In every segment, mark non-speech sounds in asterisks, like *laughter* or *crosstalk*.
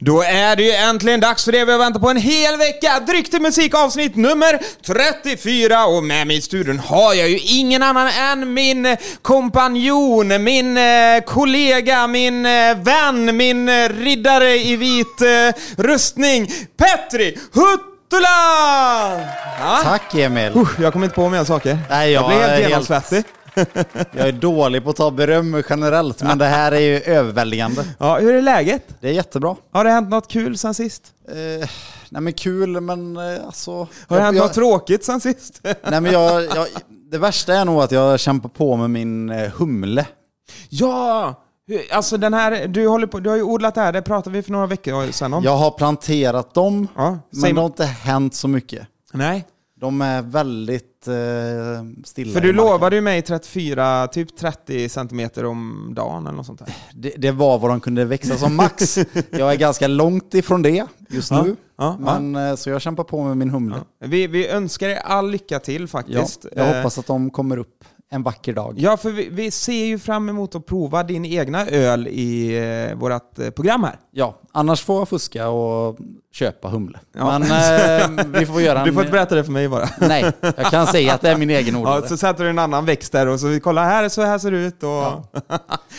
Då är det ju äntligen dags för det vi har väntat på en hel vecka! Dryck till musik avsnitt nummer 34 och med mig i studion har jag ju ingen annan än min kompanjon, min eh, kollega, min eh, vän, min eh, riddare i vit eh, rustning, Petri Huttula! Ja. Tack Emil. Uh, jag kommer inte på mer saker. Nej, jag Ah. blev är helt helt- genomsvettig. Jag är dålig på att ta beröm generellt, men det här är ju överväldigande. Ja, hur är läget? Det är jättebra. Har det hänt något kul sen sist? Eh, nej men kul, men eh, alltså... Har det hänt jag, något tråkigt sen sist? nej men jag, jag, det värsta är nog att jag kämpar på med min eh, humle. Ja! Alltså den här, du, håller på, du har ju odlat det här, det pratade vi för några veckor sedan om. Jag har planterat dem, Ja, säg- men det har inte hänt så mycket. Nej. De är väldigt eh, stilla. För du i marken. lovade ju mig 34, typ 30 centimeter om dagen eller något sånt *laughs* där. Det, det var vad de kunde växa *laughs* som max. Jag är ganska långt ifrån det just nu. ja, men, eh, Så jag kämpar på med min humle. Vi, vi önskar er all lycka till Ja, faktiskt. jag Eh, hoppas att de kommer upp en vacker dag. Ja, för vi, vi ser ju fram emot att prova din egna öl i eh, vårt eh, program här. Ja, annars får jag fuska och köpa humle. Ja. Men eh, vi får göra *laughs* en... Du får inte berätta det för mig bara. Nej, jag kan säga att det är min egen Ja, odlare. så sätter du en annan växt där och så vi kollar här, så här ser det ut och... *laughs* Ja,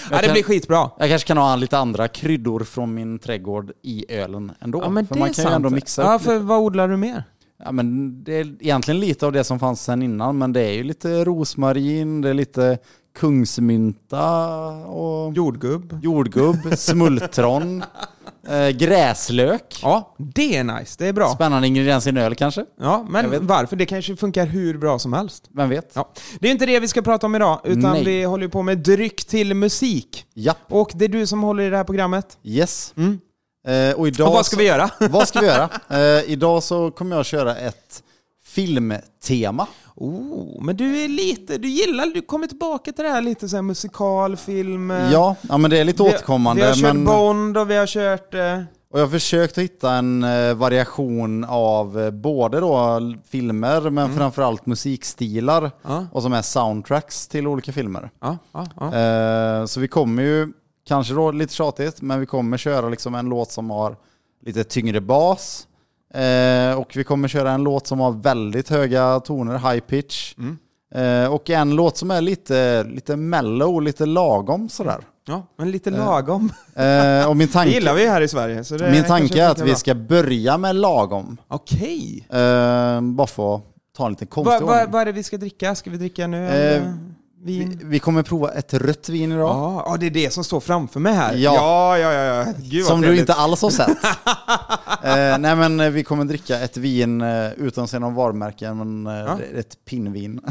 det kan- blir skitbra. Jag kanske kan ha lite andra kryddor från min trädgård i ölen ändå. Ja, men för det man är kan ju ändå sant. mixa Ja, upp för vad odlar du mer? Ja, men det är egentligen lite av det som fanns sen innan, men det är ju lite rosmarin, det är lite kungsmynta och Jordgubb. *laughs* jordgubb, smultron, eh, gräslök. Ja, det är nice. Det är bra. Spännande ingrediens i en öl kanske? Ja, Jag vet men inte. varför? Det kanske funkar hur bra som helst. Vem vet? Ja. Det är inte det vi ska prata om idag, utan Nej. vi håller ju på med dryck till musik. Ja. Och det är du som håller i det här programmet. Yes. Mm. Eh, och idag och vad ska vi göra? så, *laughs* vad ska vi göra? Eh, idag så kommer jag köra ett filmtema. Oh, men du är lite, du gillar, du kommer tillbaka till det här lite så här musikal, film. eh, Ja, ja, men det är lite vi- återkommande. Vi har kört men, Bond och vi har kört... Eh, och jag har försökt att hitta en eh, variation av eh, både då l- filmer, men framförallt musikstilar Mm. Ja. och som är soundtracks till olika filmer. ja, ja, ja. Eh, så vi kommer ju, kanske då lite tjatigt, men vi kommer köra liksom en låt som har lite tyngre bas. Eh, och vi kommer köra en låt som har väldigt höga toner, high pitch. Mm. Eh, och en låt som är lite, lite mellow, lite lagom sådär. ja men lite lagom. Eh, och min Det tanke, gillar vi här i Sverige. Så det min kanske tanke är att funkar vi bra. ska börja med lagom. Okej. Eh, bara för att ta en liten Vad konstig vad- ordning. vad är det vi ska dricka? Ska vi dricka nu? Eh, vin? Vi, vi kommer prova ett rött vin idag. Ja, ja, det är det som står framför mig här. Ja. ja, ja. ja, ja. Gud, vad Som du trevligt. inte alls *laughs* har sett. eh, nej men eh, vi kommer dricka ett vin eh, utan att se någon varumärken, men eh, Ja. det är ett pinnvin. *laughs*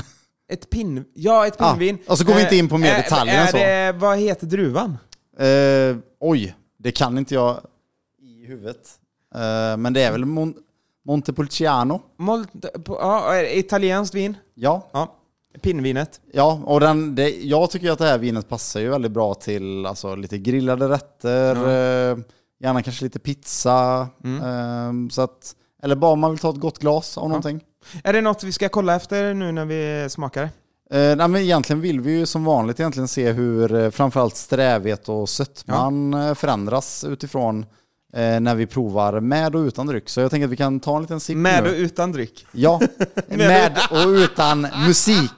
Ett pin... Ja, ett Ah, pinnvin. och så går vi inte Eh, in på mer är- detaljer är än så. Det, vad heter druvan? eh, oj, det kan inte jag i huvudet. Eh, men det är väl Mon- Montepulciano? Molt... på- Ja, är det italienskt vin. Ja, Ja. Pinnvinet. ja och den, det, jag tycker ju att det här vinet passar ju väldigt bra till alltså, lite grillade rätter, eh, gärna kanske lite pizza. Mm. Eh, så att, eller bara om man vill ta ett gott glas av någonting. Är det något vi ska kolla efter nu när vi smakar? det? Eh, nej, men egentligen vill vi ju som vanligt egentligen se hur eh, framförallt strävhet och sötman eh, förändras utifrån eh, när vi provar med och utan dryck. Så jag tänker att vi kan ta en liten sipp Med nu. och utan dryck. *laughs* Ja, med och utan musik.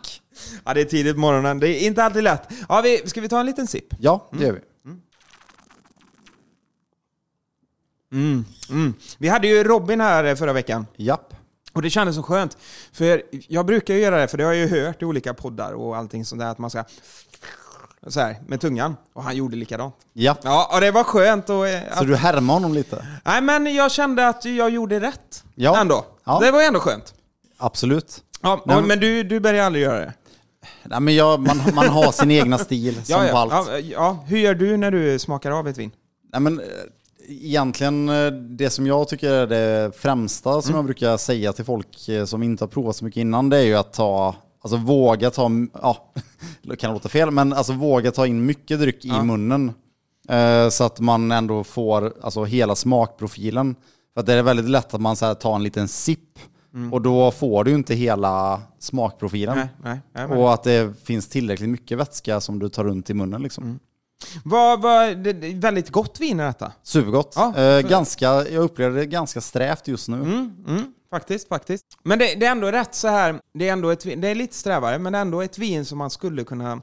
Ja, det är tidigt på morgonen. Det är inte alltid lätt. Ja, vi... Ska vi ta en liten sipp? Ja, det gör vi. Mm. Mm. Vi hade ju Robin här eh, förra veckan. Japp. Och det kändes så skönt. För jag brukar ju göra det, för det har jag ju hört i olika poddar och allting sånt där, att man ska... Så här, med tungan. Och han gjorde likadant. Japp. Ja, och det var skönt och... eh, Så att- du härmar honom lite? Nej, men jag kände att jag gjorde rätt. Ja. Ändå. Ja. Det var ju ändå skönt. Absolut. Ja, Nej, och- men- men du, du börjar aldrig göra det. Nej, men jag, man, man har sin egna stil som *laughs* Ja, på ja, allt. ja, ja. Hur gör du när du smakar av ett vin? Nej, men, eh, egentligen eh, det som jag tycker är det främsta som jag brukar säga till folk eh, som inte har provat så mycket innan det är ju att ta, alltså våga ta, ja, *laughs* det kan låta fel, men alltså våga ta in mycket dryck i munnen. Eh, Så att man ändå får alltså, hela smakprofilen. För att det är väldigt lätt att man så här, tar en liten sipp och då får du ju inte hela smakprofilen. Nej, nej. nej men. Och att det finns tillräckligt mycket vätska som du tar runt i munnen liksom. Vad, vad, det, det är väldigt gott vin i detta. Supergott. Ja, Eh, för- ganska, jag upplever det ganska strävt just nu. Mm, mm, faktiskt, faktiskt. Men det, det är ändå rätt så här, det är ändå ett vin, det är lite strävare, men det är ändå ett vin som man skulle kunna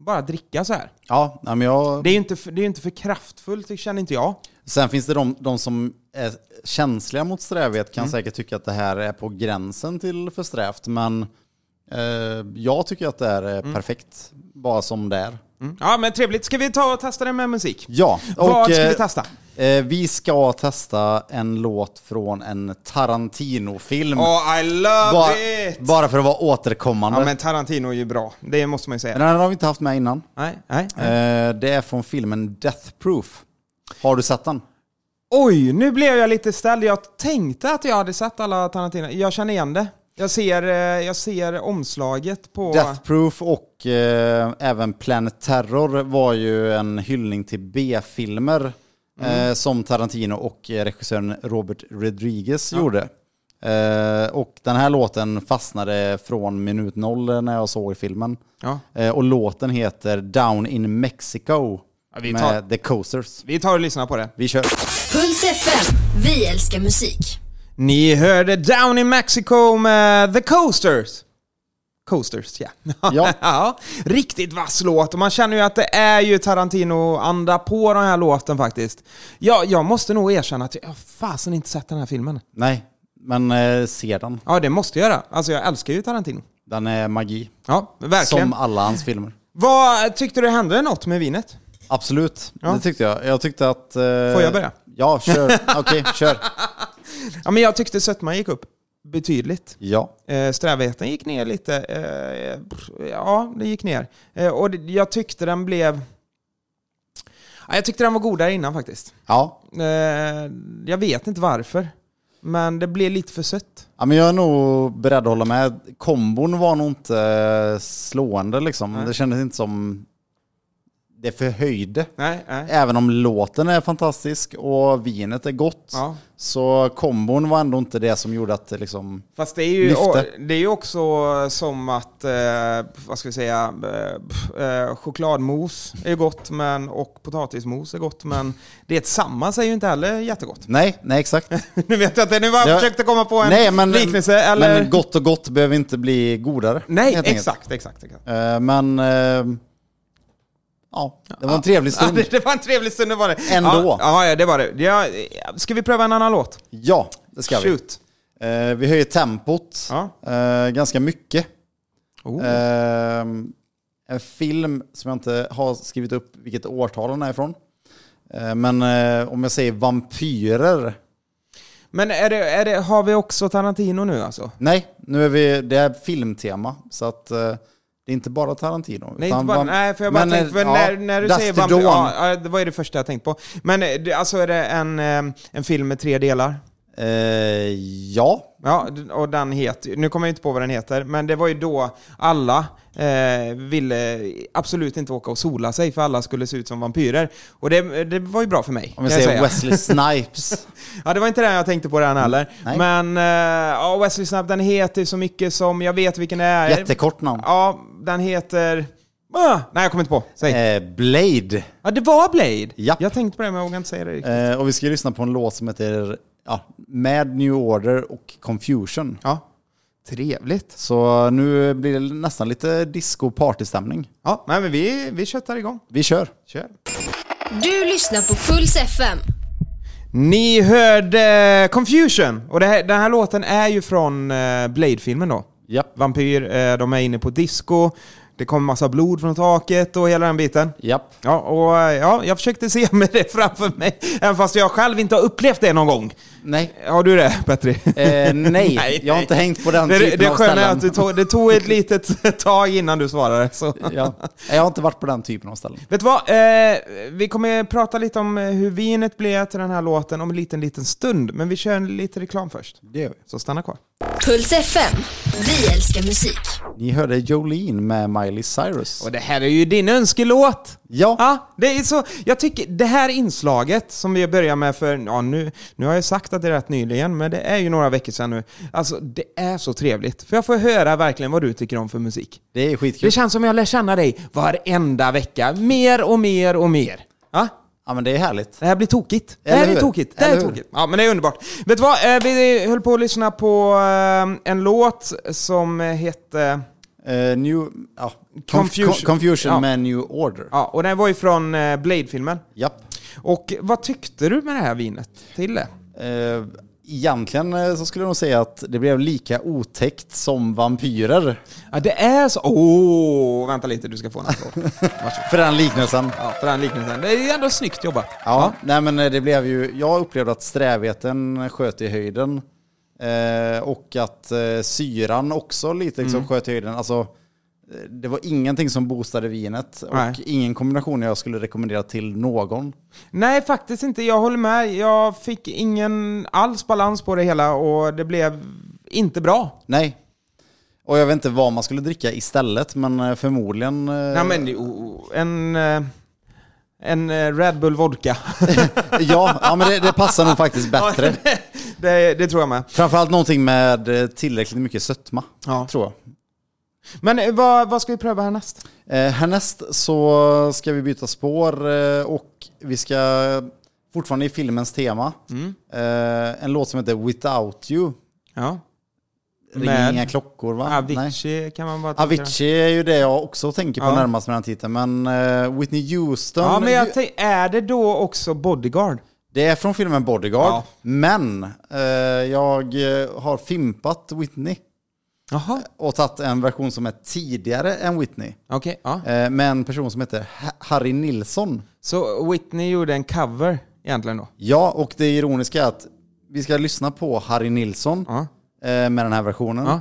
bara dricka så här. Ja, nej, men jag, Det är ju inte för, det är ju inte för kraftfullt, det känner inte jag. Sen finns det de, de som är känsliga mot strävhet Mm. kan säkert tycka att det här är på gränsen till för strävt, men eh, jag tycker att det här är perfekt, bara som det är. Mm. Ja, men trevligt. Ska vi ta och testa det med musik? Ja, Vad ska eh, vi testa? Eh, vi ska testa en låt från en Tarantino-film. Oh, I love bara, it! bara för att vara återkommande. Ja, men... men Tarantino är ju bra. Det måste man ju säga. Den har vi inte haft med innan. Nej, nej. Mm. Eh, det är från filmen Death Proof. Har du sett den? Oj, nu blev jag lite ställd. Jag tänkte att jag hade sett alla Tarantino. Jag känner igen det. Jag ser, eh, jag ser omslaget på... Death Proof och eh, även Planet Terror var ju en hyllning till B-filmer Mm. eh, som Tarantino och eh, regissören Robert Rodriguez gjorde. Eh, och den här låten fastnade från minut noll när jag såg filmen. Ja. Eh, och låten heter Down in Mexico Ja, vi tar- med The Coasters. Vi tar och lyssnar på det. Vi kör. Puls FM. Vi älskar musik. Ni hörde Down in Mexico med The Coasters. Coasters, *laughs* ja. *laughs* Ja. Riktigt vass låt och man känner ju att det är ju Tarantino-anda på den här låten faktiskt. Ja, jag måste nog erkänna att jag har fasen inte sett den här filmen. Nej, men eh, se den. Ja, det måste jag göra. Alltså jag älskar ju Tarantino. Den är magi. Ja, verkligen. Som alla hans filmer. Vad tyckte du hände något med vinet? Absolut, Ja. det tyckte jag. Jag tyckte att... eh, Får jag börja? *laughs* Ja, kör. Okej, kör. Ja, men jag tyckte sötman gick upp betydligt. Ja. Eh, strävheten gick ner lite. Eh, pff, ja, det gick ner. Eh, och det, jag tyckte den blev... Ja, jag tyckte den var godare innan faktiskt. Ja. Eh, jag vet inte varför. Men det blev lite för sött. ja, men jag är nog beredd att hålla med. Kombon var nog inte eh, slående liksom. Det kändes inte som... Det förhöjde. Nej, nej. Även om låten är fantastisk och vinet är gott, Ja. så kombon var ändå inte det som gjorde att det liksom... Fast det är ju, Lyfte. det är ju också som att, eh, vad ska vi säga, eh, pff, eh, chokladmos är gott men, och potatismos är gott men det tillsammans är ju inte heller jättegott. *laughs* Nej, nej exakt. nu vet jag inte, nu bara Ja. försökte komma på en nej, men, liknelse eller... men gott och gott behöver inte bli godare. Nej, helt enkelt. exakt, exakt, exakt. Eh, Men eh, ja, det var en trevlig Ja, stund. det, det var en trevlig stund, det var det. Ändå. Ja, ja det var det. Ja, ska vi pröva en annan låt? *laughs* Ja, det ska vi. Shoot. Eh, Vi höjer tempot Ja. eh, ganska mycket. Oh. Eh, En film som jag inte har skrivit upp vilket årtal den är ifrån. Eh, Men eh, om jag säger vampyrer. Men är det, är det, har vi också Tarantino nu alltså? Nej, nu är vi, det är filmtema. Så att eh, det är inte bara Tarantino. Nej, utan inte bara, vam- nej för jag bara Men, tänkte, för eh, när, ja, när du Dusty säger vampyr, Dawn. ja, ja, det var ju det första jag tänkte på. Men eh, det- alltså är det en, eh, en film med tre delar? Eh, ja, Ja, d- och den heter, nu kommer jag inte på vad den heter, men det var ju då alla eh, ville absolut inte åka och sola sig för alla skulle se ut som vampyrer. Och det, det var ju bra för mig. om jag kan jag säger säga. *laughs* Wesley Snipes. Ja, det var inte den jag tänkte på den heller. Mm. nej. Men eh, ja, Wesley Snipes, den heter ju så mycket som, jag vet vilken det är. Jättekort namn. Ja, den heter... Ah, nej, jag kommer inte på. Säg. Eh, Blade. Ja, det var Blade. Japp. Jag tänkte på det, men jag vågade inte säga det riktigt. Eh, och vi ska lyssna på en låt som heter ja, Mad New Order och Confusion. Ja. Trevligt. Så nu blir det nästan lite disco partystämning. Ja, nej, men vi, vi köttar igång. Vi kör! Kör. Du lyssnar på Puls FM. Ni hörde Confusion. Och det här, den här låten är ju från eh, Blade-filmen då. Japp, Vampyr, eh, de är inne på disco. Det kommer massa blod från taket och hela den biten. japp. Ja, och eh, ja, jag försökte se *laughs* med det framför mig, även fast jag själv inte har upplevt det någon gång. Nej. Har du det, Petri? Eh, nej, jag har inte hängt på *laughs* den det, typen det av sköna ställen. är att du tog, det tog *laughs* ett litet tag innan du svarade. Så. *laughs* ja. Nej, Jag har inte varit på den typen av ställen. Vet du vad? Eh, vi kommer prata lite om eh, hur vinet blev till den här låten om en liten, liten stund. Men vi kör en liten reklam först. Det gör vi. Så stanna kvar. Puls FM. Vi älskar musik. Ni hörde Jolene med Miley Cyrus. Och det här är ju din önskelåt! Ja. det är så, jag tycker det här inslaget som vi börjar med för, ja nu, nu har jag sagt att det är rätt nyligen, men det är ju några veckor sedan nu. Alltså det är så trevligt, för jag får höra verkligen vad du tycker om för musik. Det är Det skitkul. känns som jag lär känna dig varenda vecka, mer och mer och mer. Ja? Ja men det är härligt. Det här blir tokigt. Det Eller här blir hur? tokigt. Det här är Eller hur? tokigt. Ja, men det är underbart. Vet du vad? Eh, Vi höll på att lyssna på eh, en låt som hette... Eh, new, ja, Conf- Confusion. Con- Confusion Ja. med New Order. Ja, och den var ju från eh, Blade-filmen. Japp. Och vad tyckte du med det här vinet till det? Eh, egentligen eh, så skulle jag nog säga att det blev lika otäckt som vampyrer. Ja, det är så... Åh, vänta lite, du ska få en *laughs* applåd. Varsågod. För den liknelsen. Ja. Ja, för den liknelsen. Det är ändå snyggt jobbat. nej men eh, det blev ju, jag upplevde att strävheten sköt i höjden. Eh, och att eh, syran också lite liksom Mm. sköt i höjden. Alltså, eh, det var ingenting som boostade vinet och Nej. ingen kombination jag skulle rekommendera till någon. Nej, faktiskt inte. Jag håller med. Jag fick ingen alls balans på det hela och det blev inte bra. Nej. Och jag vet inte vad man skulle dricka istället, men eh, förmodligen... eh, Nej men det- o- oh. o- en, eh, en eh, Red Bull vodka. *laughs* ja, ja, men det, det passar nog faktiskt bättre. det, det tror jag med. Framförallt någonting med eh, tillräckligt mycket sötma, Ja. tror jag. Men eh, vad, vad ska vi pröva härnäst? Eh, härnäst så ska vi byta spår eh, och vi ska, fortfarande i filmens tema, Mm. eh, en låt som heter Without You. Ja. Ringer Med inga klockor va? Nej. Avicii kan man bara tycka. Avicii är ju det jag också tänker på Ja. närmast med den titeln, men eh, Whitney Houston, Ja, men jag tänk, är det då också Bodyguard? det är från filmen Bodyguard, Ja. men eh, jag eh, har fimpat Whitney Jaha, och tagit en version som är tidigare än Whitney. okej. ja. Eh, med en person som heter Ha- Harry Nilsson. Så Whitney gjorde en cover egentligen då? Ja, och det ironiska är att vi ska lyssna på Harry Nilsson Ja. eh, med den här versionen.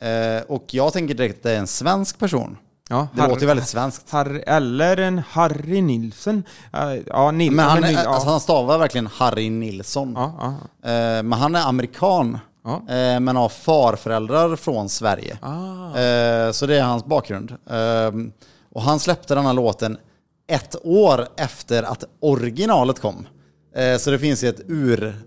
Ja. Eh, och jag tänker direkt att det är en svensk person. Ja, Det låter ju väldigt svenskt. Harry, eller en Harry Nilsson. Eh, Ja, Nilsson. Men han, Nil- är, ja. alltså han stavar verkligen Harry Nilsson. ja, ja, ja. Eh, men han är amerikan. Ja. Eh, men har farföräldrar från Sverige. Eh, så det är hans bakgrund. Eh, och han släppte den här låten ett år efter att originalet kom. Eh, så det finns ju ett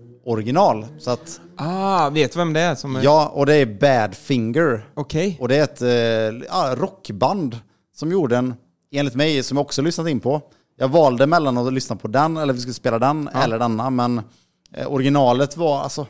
ur-original. Så att, Ah, vet du vem det är som är... ja, och det är Badfinger. Okej. Och det är ett eh, ja, rockband som gjorde en, enligt mig, som jag också lyssnat in på. Jag valde mellan att lyssna på den, eller vi skulle spela den, eller denna, men eh, originalet var alltså...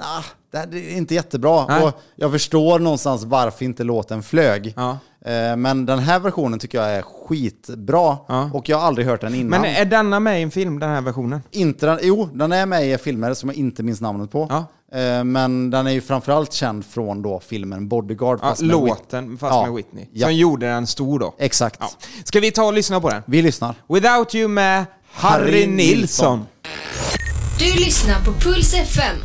Ah, det här- det är inte jättebra. Nej. Och jag förstår någonstans varför inte låten flög. Ja. Eh, men den här versionen tycker jag är skitbra. Ja. Och jag har aldrig hört den innan. Men är denna med i en film, den här versionen? Inte den, jo, den är med i filmer som jag inte minns namnet på. Ja. Eh, Men den är ju framförallt känd från då filmen Bodyguard. Ja, med Whit- låten, fast Ja, med Whitney. ja. Som gjorde den stor då. Exakt. Ja. Ska vi ta och lyssna på den? Vi lyssnar. Without You med Harry, Harry Nilsson. Nilsson. Du lyssnar på Puls FM.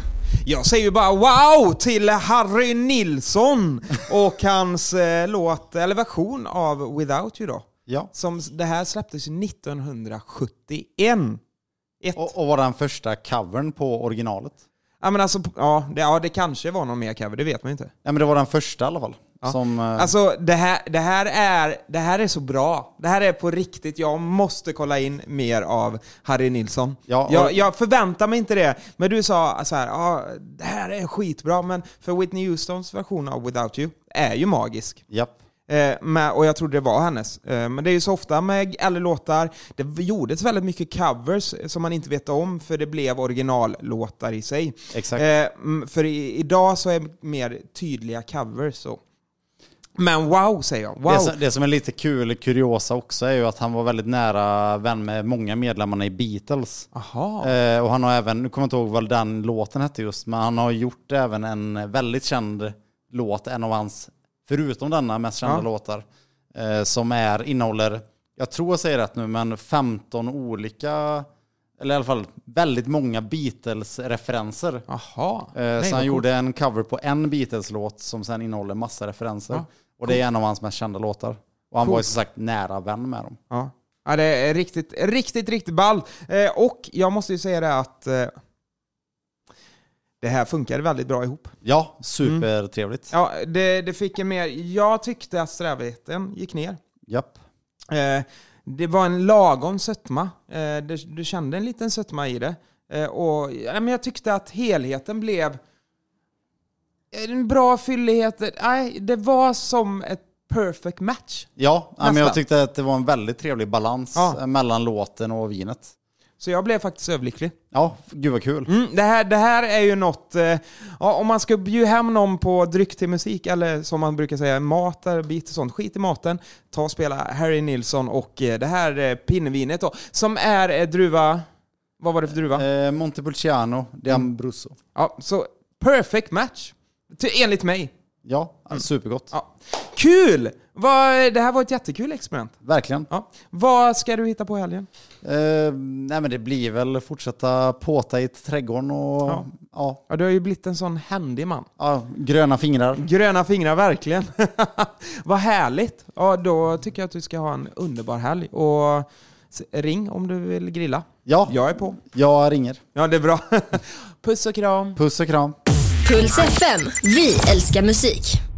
Jag säger ju bara wow till Harry Nilsson och hans eh, låt, eller version av Without You då. Ja. Som, s- det här släpptes ju 1971. Ett. Och, och var den första covern på originalet. Ja, men alltså, ja, det, ja, det kanske var någon mer cover, det vet man ju inte. Nej men det var den första i alla fall. Som, eh, Alltså det här, det, här är, det här är så bra. Det här är på riktigt. Jag måste kolla in mer av Harry Nilsson. Ja, och- jag, jag förväntar mig inte det. Men du sa så här, ah, det här är skitbra. Men för Whitney Houstons version av Without You är ju magisk. japp. Eh, med, och jag trodde det var hennes. Eh, men det är ju så ofta med eller låtar det gjordes väldigt mycket covers som man inte vet om för det blev originallåtar i sig. Exakt. Eh, mm, för i, idag så är det mer tydliga covers. Så. Men wow säger jag. Wow. Det, som, det som är lite kul, kuriosa också, är ju att han var väldigt nära vän med många medlemmarna i Beatles. Aha. Eh, och han har även, nu kommer jag inte ihåg vad den låten hette just, men han har gjort även en väldigt känd låt, en av hans, förutom denna, mest kända Ja. låtar. Eh, som är, innehåller, jag tror jag säger rätt nu, men 15 olika, eller i alla fall väldigt många Beatles-referenser. Aha. Eh, Nej, vad så han coolt. gjorde en cover på en Beatles-låt som sen innehåller massa referenser. Ja, Och det är en av hans mest kända låtar. Och han var ju Coolt. som sagt nära vän med dem. Ja. ja, det är riktigt, riktigt, riktigt ball. Eh, och jag måste ju säga det att eh, det här funkade väldigt bra ihop. Ja, supertrevligt. Ja, det, det fick en mer... Jag tyckte att strävheten gick ner. Japp. Eh, det var en lagom sötma. Eh, du, du kände en liten sötma i det. Eh, och, ja, men jag tyckte att helheten blev en bra fyllighet. Nej, det var som ett perfect match. Ja, ja, men jag Nästa. tyckte att det var en väldigt trevlig balans eh, Ja. mellan låten och vinet. Så jag blev faktiskt överlycklig. Ja, gud vad kul. Mm, det, här, det här är ju något, eh, ja, om man ska bjuda hem någon på dryck till musik, eller som man brukar säga, mat, där, bit och sånt, skit i maten. Ta och spela Harry Nilsson och eh, det här eh, pinnvinet då, som är eh, druva, vad var det för druva? Eh, Montepulciano di Mm. Ambrusso. Ja, så perfect match, Ty- enligt mig. Ja, supergott. Mm. Ja. Kul! Vad- det här var ett jättekul experiment. Verkligen. Ja. Vad ska du hitta på i helgen? Eh, nej men det blir väl fortsätta påta i trädgården och Ja. ja. Ja, Ja, du har ju blivit en sån händig man. gröna fingrar. Gröna fingrar, verkligen. *laughs* Vad härligt. Ja, då tycker jag att du ska ha en underbar helg. Och s- ring om du vill grilla. Ja, Jag är på. jag ringer. Ja, det är bra. *laughs* Puss och kram. Puss och kram. Puls FM. Vi älskar musik.